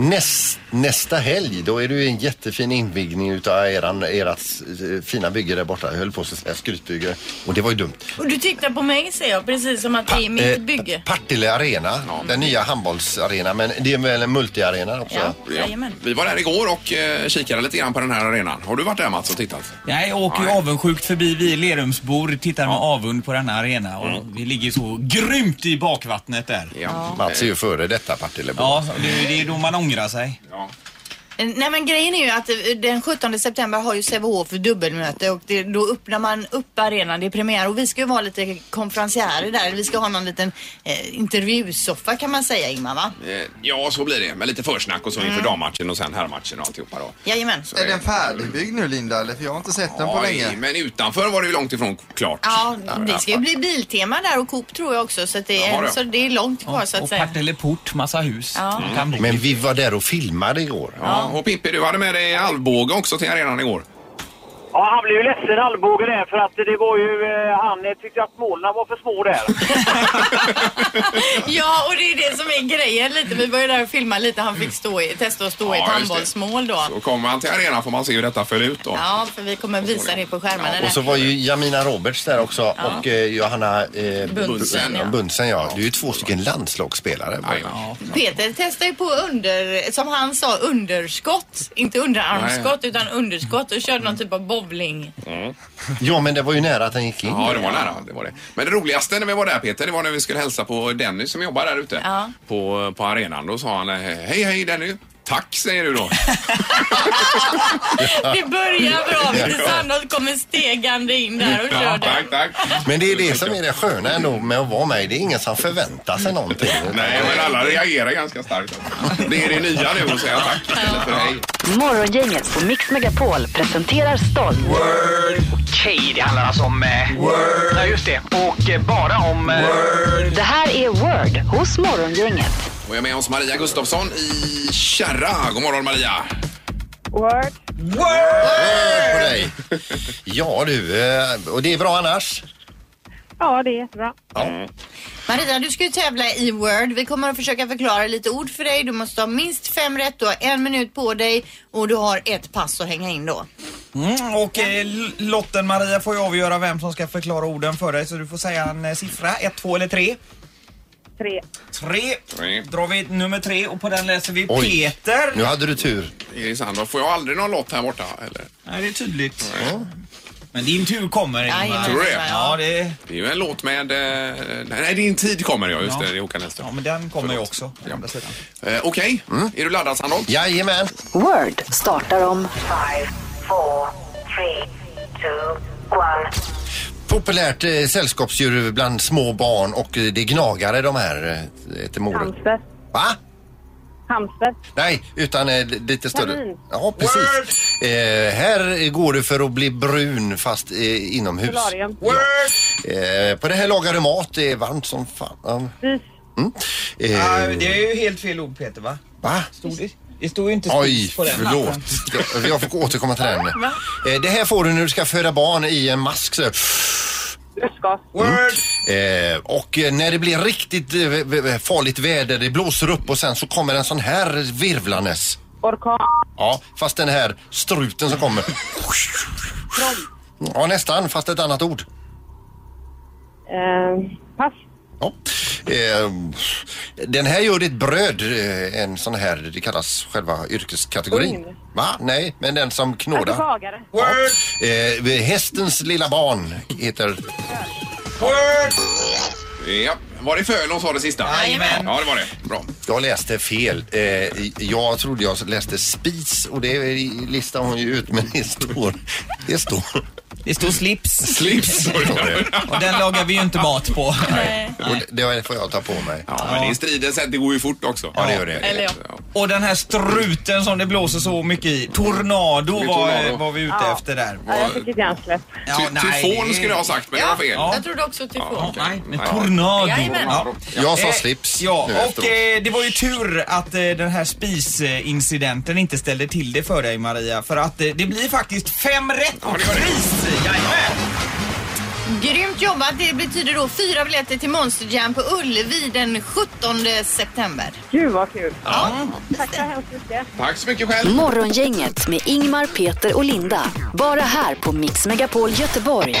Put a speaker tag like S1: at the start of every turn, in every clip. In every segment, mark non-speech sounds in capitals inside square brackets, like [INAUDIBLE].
S1: Näst, nästa helg, då är det ju en jättefin invigning utav eran, erat eh, fina bygge där borta. Jag höll på att säga skrytbygge och det var ju dumt.
S2: Och du tittar på mig säger jag precis som att det är mitt
S1: Eh,
S2: bygge.
S1: Partille Arena, den nya handbollsarenan. Men det är väl en multiarena också?
S2: Ja,
S1: va?
S2: jajamän.
S3: Vi var där igår och eh, kikade lite grann på den här arenan. Har du varit där Mats och tittat?
S4: Nej, jag åker ju avundsjukt förbi. Vi Lerumsbor tittar med avund på denna arena och vi ligger så grymt i bakvattnet där.
S3: Ja.
S1: Mats är ju före detta Partillebo.
S4: Ja, det, det är då man ångrar sig.
S3: Ja.
S2: Eh, Nej men grejen är ju att eh, den 17 september har ju Sävehof dubbelmöte och det, då öppnar man upp arenan. Det är premiär och vi ska ju vara lite konferenciärer där. Vi ska ha någon liten eh, intervjusoffa kan man säga Ingmar va?
S3: Eh, Ja, så blir det. Med lite försnack och så
S2: Mm.
S3: inför dammatchen och sen herrmatchen och alltihopa då.
S2: Jajamän.
S3: Så
S5: Är den färdigbyggd nu Linda? Eller för jag har inte sett den på
S3: Oj,
S5: länge.
S3: men utanför var det ju långt ifrån klart.
S2: Ja, det ska ju bli biltema där och Coop tror jag också så, att det,
S3: Jaha,
S2: är,
S3: du.
S2: så det är långt kvar så att
S4: och
S2: säga.
S4: Partille Port, massa hus.
S2: Ja.
S4: Man Kan bo.
S1: Men vi var där och filmade igår.
S3: Ja, och Pippi, du hade med dig Alvbåge också till arenan igår.
S6: Ja, han blev ju ledsen Alvbåge där för att det var ju, eh, han eh, tyckte att målen var för små där.
S2: [LAUGHS] Ja, och det är det som är grejen lite. Vi var ju där och filmade lite. Han fick stå i, testa att stå i
S3: Ja,
S2: ett
S3: just det.
S2: handbollsmål då.
S3: Så kommer han till arenan får man se hur detta föll ut då.
S2: Ja, för vi kommer visa det på skärmarna
S3: Ja,
S2: där.
S1: Och så var ju Jamina Roberts där också och eh, Johanna eh,
S2: Bunsen, ja.
S1: Bunsen, ja. Det är ju två stycken landslagsspelare.
S3: Aj,
S4: Ja.
S2: Peter testar ju på under, som han sa, underskott. Inte underarmskott utan underskott och körde någon typ av bowling.
S1: Ja, men det var ju nära att den gick in.
S3: Ja, det var nära. Det var det. Men det roligaste när vi var där Peter, det var när vi skulle hälsa på Denny som jobbar där ute
S2: Ja.
S3: på, på arenan. Då sa han eh, hej, hej Denny. Tack säger du då.
S2: Det börjar bra. Peter Sandholt kommer stegande in där och
S3: Ja,
S2: kör den.
S3: tack, tack.
S1: Men det är det som är det sköna ändå med att vara med. Det är ingen som förväntar sig någonting.
S3: Nej, men alla reagerar ganska starkt. Det är det nya nu att säga tack istället för hej.
S7: Morgongänget på Mix Megapol presenterar stolt.
S8: Okej, det handlar alltså om... Eh, Word. Ja, just det. Och eh, bara om... Eh,
S7: Det här är Word hos Morgongänget.
S3: Och jag är med oss Maria Gustafsson i Kärra. God morgon Maria.
S9: Word.
S1: Hör på dig. Ja du, eh, och det är bra annars.
S9: Ja, det är jättebra.
S2: Maria, du ska ju tävla i Word. Vi kommer att försöka förklara lite ord för dig. Du måste ha minst fem rätt. Du har en minut på dig och du har ett pass att hänga in då.
S4: Mm, och eh, L- Lotten Maria får ju avgöra vem som ska förklara orden för dig så du får säga en eh, siffra, ett, två eller tre.
S9: Tre.
S4: Tre.
S3: Tre.
S4: Drar vi nummer tre och på den läser vi
S1: Oj.
S4: Peter.
S1: Nu hade du tur.
S3: I Sandor, får jag aldrig någon lott här borta? Eller?
S4: Nej, det är tydligt. Men din tur kommer Ingmar.
S2: Jajamän,
S3: Tror du det?
S2: Ingmar,
S4: Ja, det,
S3: Det är ju en låt med... Eh, nej, din tid kommer jag. Just
S4: Ja.
S3: det, det är Håkan Hellström.
S4: ja, men den kommer ju
S3: Förlåt.
S4: också.
S3: Ja.
S4: å andra sidan.
S3: Eh, Okej, är du laddad Sandor?
S1: Jajamän.
S7: Word startar om
S1: Populärt eh, sällskapsdjur bland små barn och eh, det är gnagare de här eh, till modet.
S9: Hamster.
S1: Va?
S9: Hamster.
S1: Nej, utan eh, lite större.
S9: Kanin.
S1: Ja, precis. Eh, här går du för att bli brun fast eh, inomhus.
S9: Solarium.
S1: Eh, på det här lagar du mat. Det är varmt som fan. Ja.
S9: Vis.
S1: Mm.
S4: Ja,
S1: Eh,
S4: det är ju helt fel ord Peter va?
S1: va?
S4: Stod det? Det stod ju inte
S1: Oj,
S4: spis på den.
S1: förlåt. Jag- Jag får återkomma till den. Eh, Det här får du när du ska föda barn i en mask. Så.
S9: Lustgas.
S4: Word.
S1: Eh, Och eh, när det blir riktigt eh, v- v- farligt väder, det blåser upp och sen så kommer en sån här virvlandes.
S9: Orkan.
S1: Ja, fast den här struten som kommer. Ja, nästan, fast ett annat ord.
S9: Eh, pass.
S1: Ja. Eh, Den här gör ditt bröd, eh, en sån här, det kallas själva yrkeskategorin.
S9: Ugn.
S1: Va? Nej, men den som knådar.
S9: Tagare.
S4: Word.
S1: Eh, hästens lilla barn heter...
S4: Word.
S3: Ja. Var det Fölon sa det sista?
S4: Jajamän.
S3: Ja, det var det. Bra.
S1: Jag läste fel. Eh, jag trodde jag läste spis och det listar hon ju ut men det står... Det står...
S4: Det stod slips.
S1: [LAUGHS]
S3: Slips.
S4: Och den lagar vi ju inte mat på.
S1: Och det, det får jag ta på mig.
S3: Ja, men det är striden sen. Det går ju fort också.
S1: Ja, det gör det.
S2: Eller ja.
S4: Och den här struten som det blåser så mycket i. Tornado
S3: tornado.
S4: var, var vi ute efter där.
S9: Ja, jag fick ett hjärnsläpp.
S3: Ty- Tyfon skulle jag ha sagt, men det var fel.
S4: Ja.
S2: Jag trodde också tyfon.
S3: Ja, okej.
S4: Nej, men tornado.
S2: Jajamän.
S4: Ja.
S1: Jag sa
S4: Eh,
S1: slips
S4: Ja,
S1: nu
S4: och
S1: efteråt.
S4: eh, det var ju tur att eh, den här spisincidenten inte ställde till det för dig Maria. För att eh, det blir faktiskt fem rätt och
S3: det var det.
S4: pris. Jajamän.
S2: Grymt jobbat. Det betyder då fyra biljetter till Monster Jam på Ullevi den 17 september.
S10: Gud vad kul.
S2: Ja.
S10: Tack så hemskt mycket.
S3: Tack så mycket själv.
S7: Morgongänget med Ingmar, Peter och Linda. Bara här på Mix Megapol Göteborg.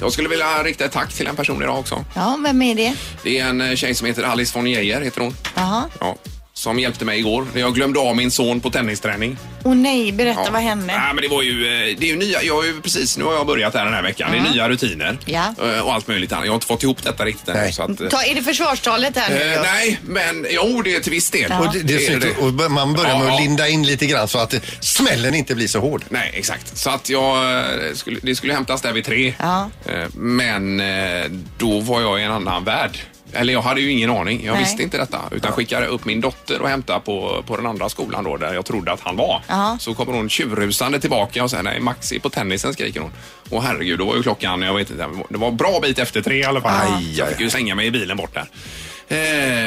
S3: Jag skulle vilja rikta ett tack till en person idag också.
S2: ja, vem är det?
S3: Det är en eh, tjej som heter Alice von Geijer, heter hon.
S2: Jaha.
S3: Ja, som hjälpte mig igår när jag glömde av min son på tennisträning.
S2: Åh nej, berätta vad hände?
S3: Nej, men det var ju, eh, det är ju nya, jag har ju precis, nu har jag börjat här den här veckan. Det är nya rutiner
S2: Ja.
S3: eh, och allt möjligt annat. Jag har inte fått ihop detta riktigt än.
S1: Nej.
S3: Så att, eh,
S2: Ta, är det försvarstalet här nu?
S3: eh,
S2: då?
S3: nej, men jo, det är till viss del.
S1: Och, det, det är
S3: är
S1: snyggt.
S3: det.
S1: och b- man börjar med
S3: Ja,
S1: att
S3: ja.
S1: linda in lite grann så att eh, smällen inte blir så hård.
S3: Nej, exakt. Så att jag eh, skulle, det skulle hämtas där vid tre.
S2: Ja.
S3: Eh, Men eh, då var jag i en annan värld. Eller jag hade ju ingen aning. Jag
S2: Nej.
S3: visste inte detta. Utan skickade upp min dotter och hämtade på, på den andra skolan då där jag trodde att han var.
S2: Ja.
S3: Så kommer hon tjurrusande tillbaka och säger nej, Max är på tennisen skriker hon. Och herregud, då var ju klockan, jag vet inte, det var en bra bit efter tre i alla fall.
S1: Ja.
S3: Så jag fick ju slänga mig i bilen bort där. Eh,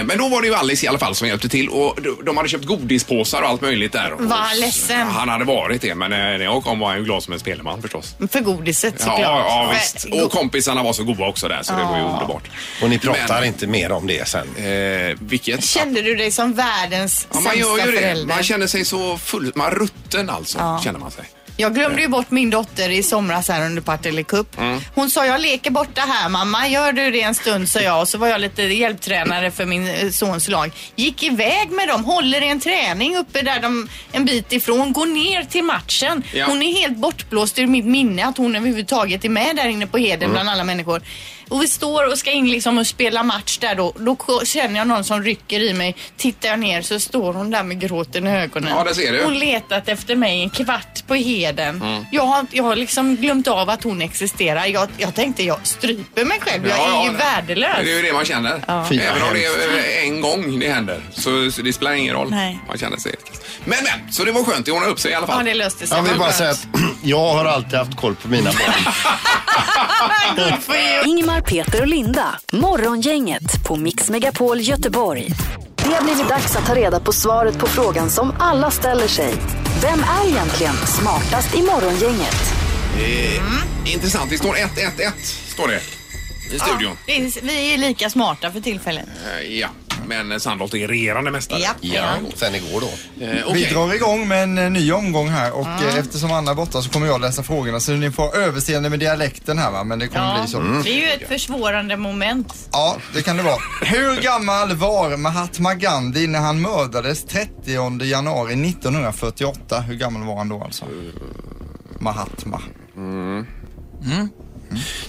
S3: Men då var det ju Alice i alla fall som hjälpte till och de- de hade köpt godispåsar och allt möjligt där.
S2: Vad
S3: Och s-
S2: ledsen.
S3: Han hade varit det, men eh, när jag kom var han ju glad som en spelman förstås.
S2: För godiset
S3: Ja,
S2: såklart.
S3: ja,
S2: För- Ah.
S3: visst. Och kompisarna var så goda också där, så det var ju underbart.
S1: Och ni pratar
S3: Men-
S1: inte mer om det sen.
S3: Eh, vilket...
S2: Kände du dig som världens
S3: ja, man
S2: sämsta
S3: gör ju det.
S2: förälder?
S3: Man känner sig så full... Man rutten alltså,
S2: Ja.
S3: känner man sig.
S2: Jag glömde ju bort min dotter i somras här under Partille Cup. Hon sa, jag leker borta här mamma, gör du det en stund, sa jag. Och så var jag lite hjälptränare för min eh, sons lag. Gick iväg med dem, håller i en träning uppe där de en bit ifrån, går ner till matchen.
S3: Ja.
S2: Hon är helt bortblåst ur mitt minne att hon överhuvudtaget är med där inne på Heden bland alla människor. Och vi står och ska in liksom och spela match där då. Då k- känner jag någon som rycker i mig. Tittar jag ner så står hon där med gråten i ögonen.
S3: Ja, det ser du. Mm.
S2: Hon letat efter mig en kvart på heden. Jag, har, jag har liksom glömt av att hon existerar. Jag, jag tänkte jag stryper mig själv. Jag är ju
S3: nej.
S2: värdelös.
S3: Det är ju det man känner.
S2: Ja.
S1: Fy, vad
S3: Även om det är eh, en gång det händer så, så det spelar ingen roll.
S2: Nej.
S3: Man känner sig helt kass. Men, men, så det var skönt. Det ordnade upp sig i alla
S2: Ja,
S3: fall.
S2: det löste sig.
S1: Jag vill
S2: Vad
S1: bara
S2: skönt.
S1: säga att [CLEARS THROAT] jag har alltid haft koll på mina barn.
S2: Good for you.
S7: Ingmar, Peter och Linda. Morgongänget på Mix Megapol Göteborg. Det har blivit dags att ta reda på svaret på frågan som alla ställer sig. Vem är egentligen smartast i morgongänget?
S3: Eh, Intressant. Det står 1-1-1, står det i studion.
S2: Det är- Vi är lika smarta för tillfället.
S3: Eh, Ja, men Sandholt är regerande mästare.
S2: Japp.
S1: Ja, sen igår då.
S3: Eh,
S5: Vi
S3: okej.
S5: drar igång med en eh, ny omgång här och eh, eftersom Anna är borta så kommer jag läsa frågorna så ni får överseende med dialekten här va, men det kommer
S2: Ja,
S5: bli så.
S1: Mm.
S2: Det är ju ett försvårande moment.
S5: Ja, det kan det vara. Hur gammal var Mahatma Gandhi när han mördades 30 januari 1948? Hur gammal var han då alltså? Mahatma.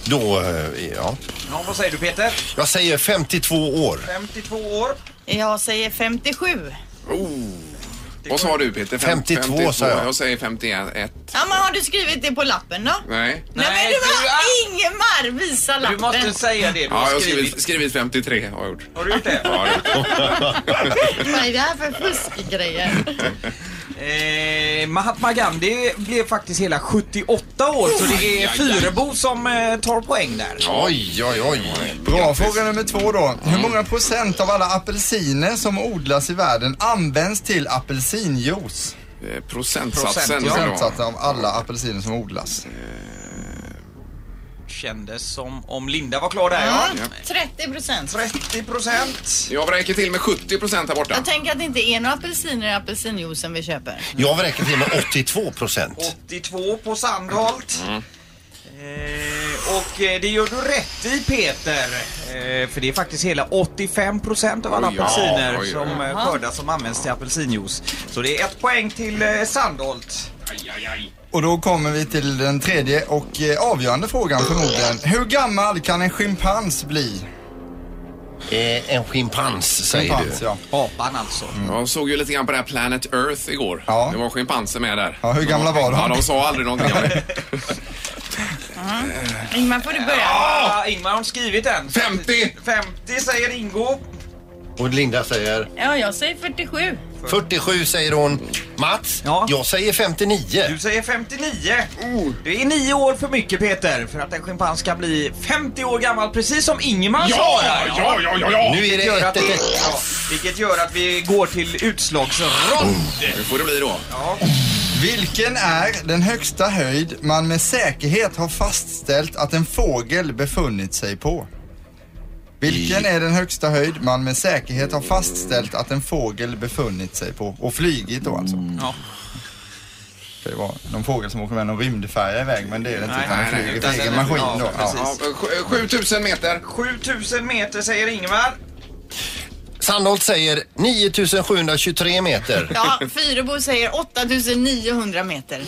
S1: Då, eh, ja.
S4: Ja, vad säger du Peter?
S1: Jag säger 52 år.
S4: 52 år.
S2: Jag säger 57.
S3: Vad sa du Peter? Fem-
S1: 52, sa jag.
S3: Jag säger 51.
S2: Ja, men har du skrivit det på lappen då?
S3: Nej.
S2: Nej, men
S4: Nej,
S2: du har
S4: du är-
S2: Ingemar, visa
S4: Du
S2: lappen.
S4: måste säga det du
S3: Ja, jag
S4: har
S3: har skrivit,
S4: skrivit.
S3: skrivit 53 har jag gjort.
S4: Har du gjort det?
S3: Ja, det-
S5: [LAUGHS]
S2: Vad är det här för fuskgrejer?
S4: Eh, Mahatma Gandhi blev faktiskt hela 78 år så det är
S3: aj, aj.
S4: Fyrebo som eh, tar poäng där.
S1: Oj, oj, oj.
S5: Bra, fråga nummer två då. Hur många procent av alla apelsiner som odlas i världen används till apelsinjuice?
S3: Eh, Procentsatsen.
S4: Procent, ja.
S3: ska det vara.
S5: Procentsatsen av alla apelsiner som odlas.
S4: Kändes som om Linda var klar där ja.
S3: Mm.
S2: 30 Mm. procent.
S4: 30 procent.
S3: Jag vräker till med 70 procent här borta.
S2: Jag tänker att det inte är några apelsiner i apelsinjuicen vi köper.
S1: Jag räcker till med 82 procent.
S4: 82 på Sandholt. Eh, och eh, det gör du rätt i Peter. Eh, för det är faktiskt hela 85 procent av alla
S3: Oj, ja,
S4: apelsiner
S3: oj, oj.
S4: som eh, skördas som används till apelsinjuice. Så det är ett poäng till eh, Sandholt.
S3: Aj, aj, aj.
S5: Och då kommer vi till den tredje och eh, avgörande frågan förmodligen. Hur gammal kan en schimpans bli?
S1: Eh, en schimpans säger
S5: Schimpans,
S1: du.
S5: ja.
S4: Apan alltså.
S3: Jag såg ju lite grann på det här Planet Earth igår.
S5: Ja.
S3: Det var schimpanser med där.
S5: Ja, hur gamla var de?
S3: Ja, de sa aldrig någonting om
S5: [LAUGHS]
S3: det.
S2: Ingmar, får du börja?
S4: Ah, Ingmar har inte skrivit än.
S3: 50!
S4: 50 säger Ingo.
S1: Och Linda säger
S2: Ja, jag säger 47.
S1: 47 säger hon. Mats,
S4: Ja.
S1: jag säger 59.
S4: Du säger 59.
S3: Oh.
S4: Det är nio år för mycket Peter för att en schimpans ska bli 50 år gammal precis som Ingemar
S3: Ja,
S4: sa där.
S3: ja, ja, ja, ja!
S1: Nu är det
S4: Vilket gör,
S1: ett,
S4: att
S1: ett,
S4: vi,
S1: ett.
S4: ja, vilket gör att vi går till utslagsrond.
S3: Nu får det bli då.
S5: Vilken är den högsta höjd man med säkerhet har fastställt att en fågel befunnit sig på? Vilken är den högsta höjd man med säkerhet har fastställt att en fågel befunnit sig på? Och flygit då alltså.
S4: Ja.
S5: Det var någon fågel som åker med någon rymdfärja iväg men det är det inte
S4: Nej,
S5: utan den
S3: nej,
S5: flyger
S4: utan
S5: på
S4: den
S5: egen
S4: är-
S5: maskin
S4: ja,
S5: då.
S4: precis.
S5: Ja.
S3: Ja, sju- 7000 meter.
S4: 7000 meter säger Ingvar.
S1: Sandholt säger 9723 meter.
S2: Ja, [LAUGHS] Fyrebo säger 8900 meter.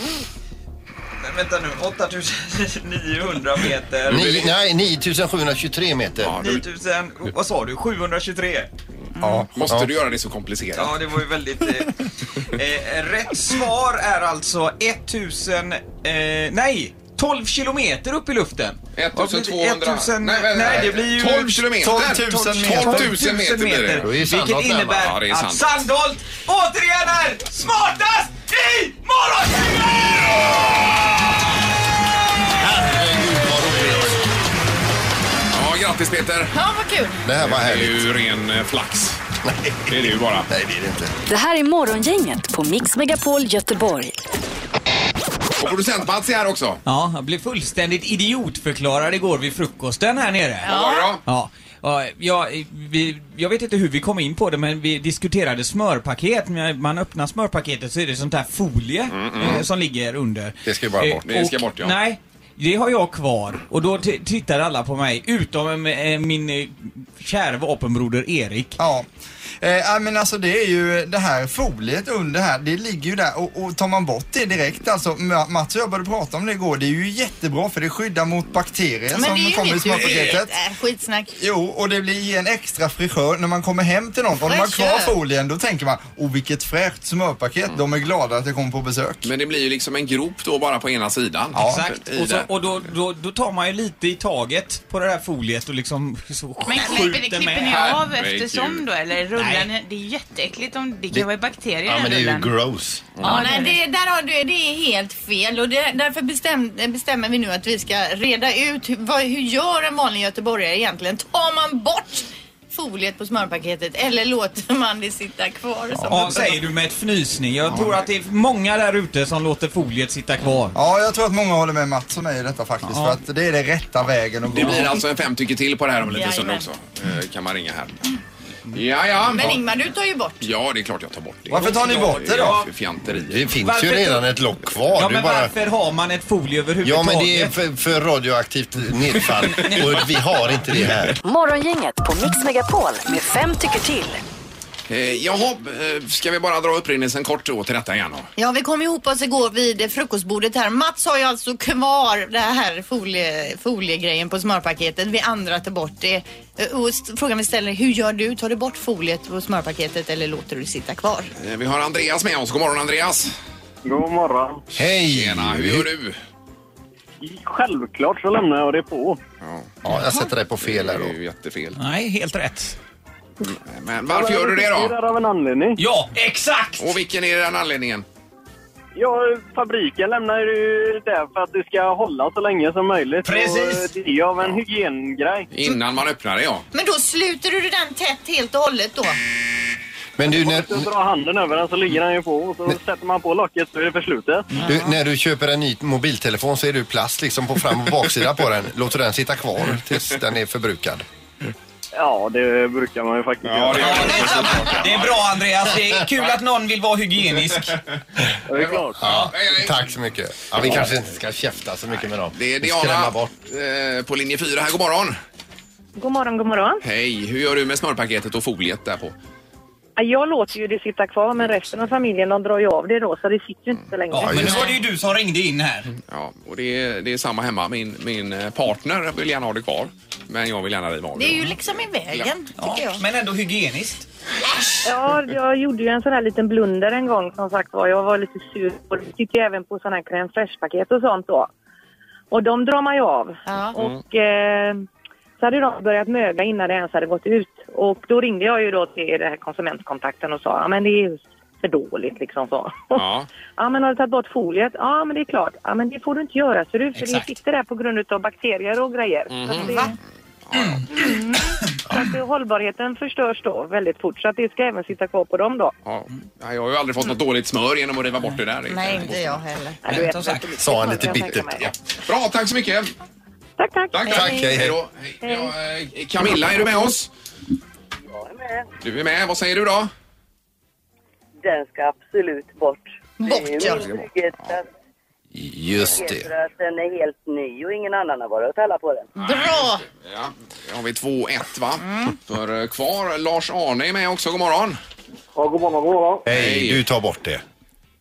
S4: Men vänta nu, 8900 meter.
S1: Ni, nej, 9723 meter.
S3: Ja, du,
S4: 9000, vad sa du, 723?
S5: Ja.
S3: måste du göra det så komplicerat?
S4: Ja, det var ju väldigt... Eh, eh, rätt svar är alltså 1000... Eh, nej! 12 kilometer upp i luften. Vad blir det?
S3: 1200.
S4: 1000,
S3: Nej, vänta,
S4: nej, det blir ju...
S3: 12 kilometer.
S5: 12 000 meter.
S3: 12 000 meter blir det.
S1: Då är
S4: Vilket
S1: Sandholt närmare.
S4: innebär
S3: Ja, det är
S4: att
S3: Sandholt.
S4: Sandholt återigen är smartast i morgongänget!
S1: Herregud vad roligt.
S3: Ja, grattis Peter.
S2: Ja, vad kul.
S1: Det här var
S3: Det är
S1: härligt.
S3: ju ren eh, flax.
S1: Nej,
S3: Det är det ju bara.
S1: nej, det är det inte.
S7: Det här är Morgongänget på Mix Megapol Göteborg.
S3: Och producent Mats är här också.
S4: Ja, jag blev fullständigt idiotförklarad igår vid frukosten här nere.
S3: Vad var det då?
S4: Ja. Ja, ja, vi, jag vet inte hur vi kom in på det men vi diskuterade smörpaket. När man öppnar smörpaketet så är det sånt här folie eh, som ligger under.
S1: Det ska ju bara
S4: Eh,
S1: bort.
S3: Mm, Det ska
S4: och-
S3: bort, ja.
S4: Nej, det har jag kvar. Och då t- tittar alla på mig utom eh, min eh, kära vapenbroder Erik.
S5: Ja. Eh, nej, men alltså det är ju det här foliet under här, det ligger ju där och, och tar man bort det direkt alltså, Ma- Mats och jag började prata om det igår, det är ju jättebra för det skyddar mot bakterier
S2: Men det
S5: som
S2: är ju
S5: kommer i
S2: inget du
S5: smörpaketet.
S2: vet. Äh, Skitsnack.
S5: Jo, och det blir en extra frischör när man kommer hem till någon. Om de har kvar
S2: Fräschör.
S5: folien då tänker man, oh vilket fräscht smörpaket, de är glada att jag kom på besök.
S3: Men det blir ju liksom en grop då bara på ena sidan.
S4: Exakt.
S3: I
S4: Och, så,
S3: det.
S4: och då, då, då tar man ju lite i taget på det här foliet och liksom så
S11: Men klipper,
S4: skjuter
S11: klipper ni
S4: med.
S11: av
S3: Herregud.
S11: eftersom då eller rullar
S4: Nej.
S11: ni? Det är ju jätteäckligt om det
S1: Det-
S11: kan vara bakterier
S1: Ja,
S11: i den
S1: men det är ju
S11: rullen.
S1: gross.
S2: Ja, nej, det, där har du, det är helt fel och det, därför bestäm, bestämmer vi nu att vi ska reda ut hur, vad, hur gör en vanlig göteborgare egentligen? Tar man bort foliet på smörpaketet eller låter man det sitta kvar? Som
S4: Ja, säger du med ett fnysning. Jag tror att det är många där ute som låter foliet sitta kvar.
S5: Ja, jag tror att många håller med Mats och mig i detta faktiskt för att det är den rätta vägen att gå.
S3: Det blir alltså en femtycke till på det här om en liten stund
S2: Jajamän.
S3: också. Eh, Kan man ringa här. Ja, ja.
S2: Men Ingmar, du tar ju bort.
S3: Ja, det är klart jag tar bort det.
S5: Varför tar ni bort det då?
S3: Ja, Fianterier.
S1: Det finns
S4: Varför-
S1: ju redan ett lock kvar.
S4: Ja,
S1: Du
S4: men
S1: bara...
S4: varför har man ett folie
S1: Ja,
S4: överhuvudtaget?
S1: men det är för, för radioaktivt
S4: [LAUGHS]
S1: nedfall och vi har inte det här.
S7: Morgongänget på Mix Megapol med fem tycker till.
S3: Eh, jaha, eh, ska vi bara dra upprinnelsen kort då till detta igen då?
S2: Ja, vi kom ihop oss igår vid eh, frukostbordet här. Mats har ju alltså kvar det här folie, foliegrejen på smörpaketet. Vi andra tar bort det. Eh, Och st- frågan vi ställer är, hur gör du? Tar du bort foliet på smörpaketet eller låter du det sitta kvar?
S3: Eh, vi har Andreas med oss. God morgon Andreas!
S9: God morgon.
S1: Hej!
S3: Tjena, hur gör du?
S9: Självklart så lämnar jag det på.
S1: Ja, jag sätter dig på fel
S3: Det
S1: här
S3: är
S1: då.
S3: ju jättefel.
S4: Nej, helt rätt.
S3: Men varför gör du det
S9: Jag
S3: då?
S9: respekterar av en anledning.
S4: Ja, exakt!
S3: Och vilken är den anledningen?
S9: Ja, fabriken lämnar ju där för att det ska hålla så länge som möjligt.
S4: Precis.
S9: Och eh, det är ju av en hygiengrej.
S3: Innan man öppnar det ja.
S2: Men då sluter du den tätt helt och hållet då?
S1: Men du, när,
S9: Så drar handen över den så ligger den ju på och så sätter man på locket så är det förslutet.
S1: du, när du köper en ny mobiltelefon så är det ju plast liksom på fram och baksida på den. Låter den sitta kvar tills den är förbrukad.
S9: Ja, det brukar man ju faktiskt göra.
S3: gör
S4: Det är bra Andreas, det är kul att någon vill vara hygienisk.
S9: Det är klart.
S1: Ja,
S3: Nej, nej.
S1: tack så mycket. Ja, vi kanske inte ska käfta så mycket med dem.
S3: Det är
S1: Skrämma
S3: Diana
S1: bort.
S3: eh, på linje 4 här. God morgon!
S10: God morgon, god morgon.
S3: Hej, hur gör du med smörpaketet och foliet där på?
S10: Ja, Jag låter ju det sitta kvar men resten av familjen de drar ju av det då så det sitter ju inte så länge.
S4: Ja, men nu
S1: just
S4: var det ju du som ringde in här.
S3: Ja, och det är, det är samma hemma. Min, min eh, partner vill gärna ha det kvar. Men jag vill gärna riva av
S2: Det är ju
S3: det.
S2: liksom i vägen,
S4: Ja,
S2: tycker jag.
S4: men ändå hygieniskt.
S10: Ja, jag gjorde ju en sån här liten blunder en gång som sagt var. Jag var lite sur och det sitter ju även på såna här crème fraîche-paket och sånt då. Och de drar man ju av.
S2: Ja.
S10: Och eh, så hade de börjat mögla innan det ens hade gått ut. Och då ringde jag ju då till den här konsumentkontakten och sa ja men det är ju för dåligt liksom så.
S3: Ja.
S10: Ja men har du tagit bort foliet? Ja men det är klart. Ja men det får du inte göra ser du för
S4: Exakt.
S1: Mhm.
S10: det sitter där på grund av bakterier och grejer. Så att det, Så att eh, hållbarheten förstörs då väldigt fort. Så att det ska även sitta kvar på dem då.
S3: Ja, jag har ju aldrig fått något dåligt smör genom att riva bort det där.
S2: Nej, inte jag heller.
S10: Ja, du vet, vet du, det
S1: Sa han
S10: kan
S1: lite
S10: jag tänka
S1: bittert.
S10: mig.
S3: Ja. Bra, tack så mycket.
S10: Tack, tack.
S3: Tack, tack. Hej, hej då. Hej. Ja, eh, Camilla, är du med oss? Du är med. Vad säger du då?
S12: Den ska absolut bort.
S2: Bort,
S12: det
S2: ja.
S12: är ju min trygghet att,
S1: Just det.
S12: för att den är helt ny och ingen annan har varit och tällat på den.
S2: Bra!
S3: Ja, då har vi 2-1 va? För eh, kvar, Lars-Arne är med också. God morgon.
S13: Ja, god morgon, god morgon.
S1: Hej, du tar bort det.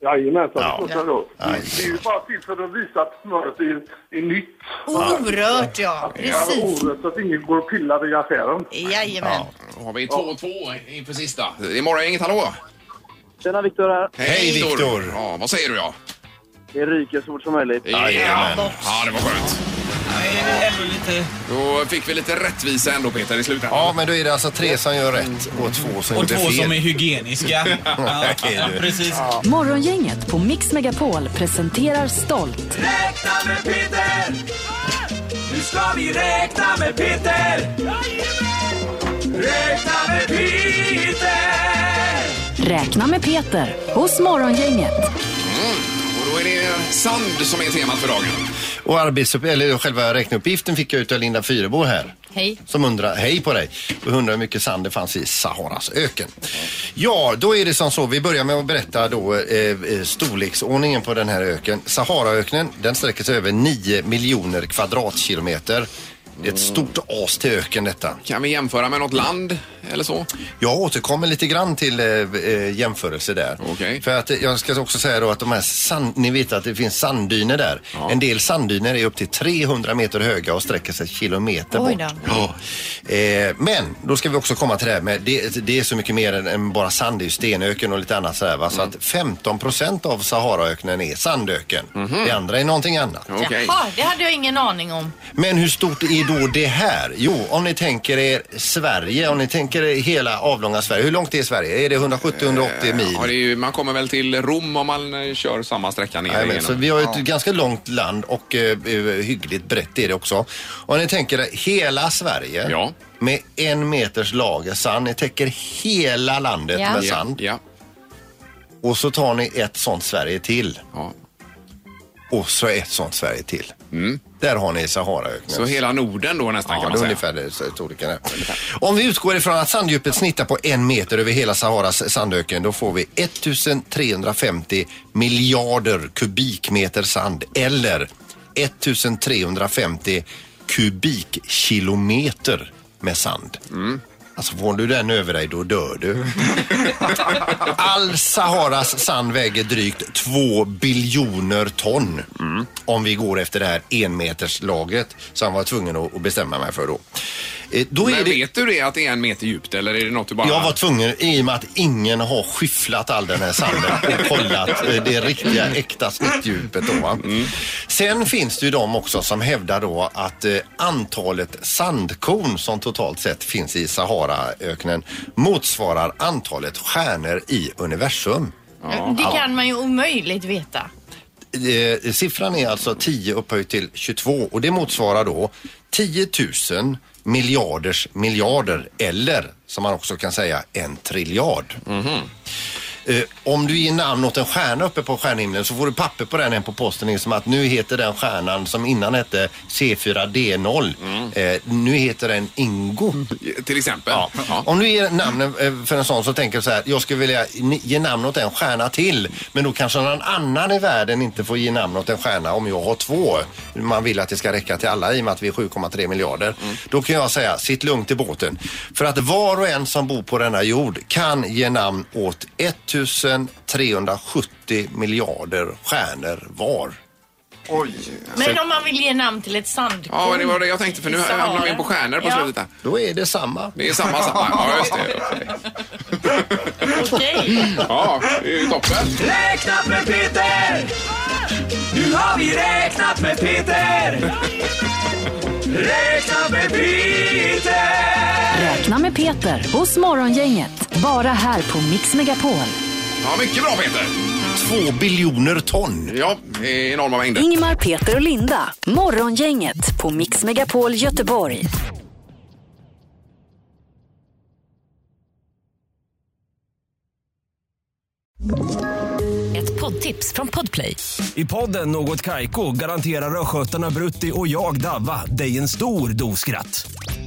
S13: Jajamensan,
S1: Ja.
S13: det står så då. Det är ju bara till för att visa att smöret är, är nytt.
S2: Orört, ja.
S13: Att det är
S2: Precis.
S13: Orört, så att ingen går och pillar i affären.
S2: Jajamän.
S3: Då har vi 2-2 inför sista. Det är morgongänget, hallå?
S13: Tjena, Viktor här.
S3: Hej, Viktor. Ja, vad säger du ja?
S13: Det ryker så fort som möjligt.
S3: Jajamän. Ja, det var skönt. Då fick vi lite rättvisa ändå Peter i slutändan.
S1: Ja, men då är det alltså tre som gör rätt och två som
S3: Och
S1: gjorde
S3: två
S1: fel.
S3: som är
S14: hygieniska.
S1: [LAUGHS] Ja, är du.
S14: Precis.
S7: Morgongänget på Mix Megapol presenterar stolt.
S15: Räkna med Peter! Nu ska vi räkna med Peter! Räkna med Peter!
S7: Räkna med Peter hos Morgongänget.
S3: Mm. Och då är det sand som är temat för dagen.
S1: Och arbetsupp- eller själva räkneuppgiften fick jag ut av Linda Fyrebo här.
S2: Hej.
S1: Som undrar, hej på dig, och undrar hur mycket sand det fanns i Saharas öken. Ja, då är det som så, vi börjar med att berätta då eh, eh, storleksordningen på den här öken. Saharaöknen, den sträcker sig över 9 miljoner kvadratkilometer. Det är ett stort as till öken detta.
S3: Kan vi jämföra med något land eller så?
S1: Jag återkommer lite grann till eh, eh, jämförelse där. För att eh, jag ska också säga då att de här sand, ni vet att det finns sanddyner där. En del sanddyner är upp till 300 meter höga och sträcker sig kilometer
S2: Oj
S1: bort.
S2: då.
S1: Ja. Eh, men då ska vi också komma till det här med, det, det är så mycket mer än, än bara sand, det är ju stenöken och lite annat sådär va. Så att 15 procent av Saharaöknen är sandöken. Det andra är någonting annat.
S2: Jaha, det hade jag ingen aning om.
S1: Men hur stort är då det här? Jo, om ni tänker er Sverige, om ni tänker er hela avlånga Sverige. Hur långt är Sverige? Är det 170-180 mil?
S3: Eh, Ja, det är ju, man kommer väl till Rom om man eh, kör samma sträcka ner
S1: Nej, men,
S3: igenom.
S1: så vi har ju ett
S3: Ja.
S1: ganska långt land och eh, eh, hyggligt brett är det också. Om ni tänker er hela Sverige med en meters lager sand. Ni täcker hela landet
S3: Ja.
S1: med
S3: Ja,
S1: sand. Och så tar ni ett sånt Sverige till. Och så ett sånt Sverige till. Där har ni Saharaöknen.
S3: Mm. Så hela Norden då nästan
S1: Ja,
S3: kan
S1: det
S3: man
S1: är
S3: säga.
S1: ungefär det storleken är. Om vi utgår ifrån att sanddjupet snittar på en meter över hela Saharas sandöken då får vi 1350 miljarder kubikmeter sand eller 1350 kubikkilometer med sand. Alltså får du den över dig då dör du. All Saharas sand väger drygt 2 biljoner ton. Om vi går efter det här enmeterslaget som jag var tvungen att att bestämma mig för då. Eh, då är
S3: men
S1: det...
S3: vet du det att det är en meter djupt eller är det något du bara...
S1: Jag var tvungen i och med att ingen har skyfflat all den här sanden och kollat eh, det riktiga äkta snittdjupet. Då, va? Sen finns det ju de också som hävdar då att eh, antalet sandkorn som totalt sett finns i Saharaöknen motsvarar antalet stjärnor i universum.
S2: Det kan man ju omöjligt veta.
S1: Eh, siffran är alltså 10 upphöjt till 22 och det motsvarar då 10 000 miljarders miljarder eller som man också kan säga en triljard. Eh, om du ger namn åt en stjärna uppe på stjärnhimlen så får du papper på den hem på posten in som att nu heter den stjärnan som innan hette C4D0. Eh, nu heter den Ingo.
S3: Till exempel.
S1: Ja. Om du ger namn eh, för en sån så tänker du så här, jag skulle vilja ni- ge namn åt en stjärna till. Men då kanske någon annan i världen inte får ge namn åt en stjärna om jag har två. Man vill att det ska räcka till alla i och med att vi är 7,3 miljarder. Då kan jag säga, sitt lugnt i båten. För att var och en som bor på denna jord kan ge namn åt 1370 miljarder stjärnor var.
S3: Oj.
S2: Men om man vill ge namn till ett sandkorn.
S3: Ja, men det var det jag tänkte för nu
S2: i Sahara.
S3: hamnar vi in på stjärnor på
S2: Ja.
S3: slutet här.
S1: Då är det samma.
S3: Det är samma, samma. Ja, just det.
S15: Okej.
S3: Ja, det är ju toppen.
S15: Räknat med Peter! Nu har vi räknat med Peter! Räknat med Peter!
S7: Räkna med Peter hos Morgongänget. Bara här på Mix Megapol.
S3: Ja, mycket bra Peter.
S1: Två biljoner ton.
S3: Ja, det är enorma mängder.
S7: Ingmar, Peter och Linda. Morgongänget på Mix Megapol Göteborg. Ett poddtips från Podplay.
S9: I podden Något Kaiko garanterar östgötarna Brutti och jag, Davva, dig en stor dos skratt.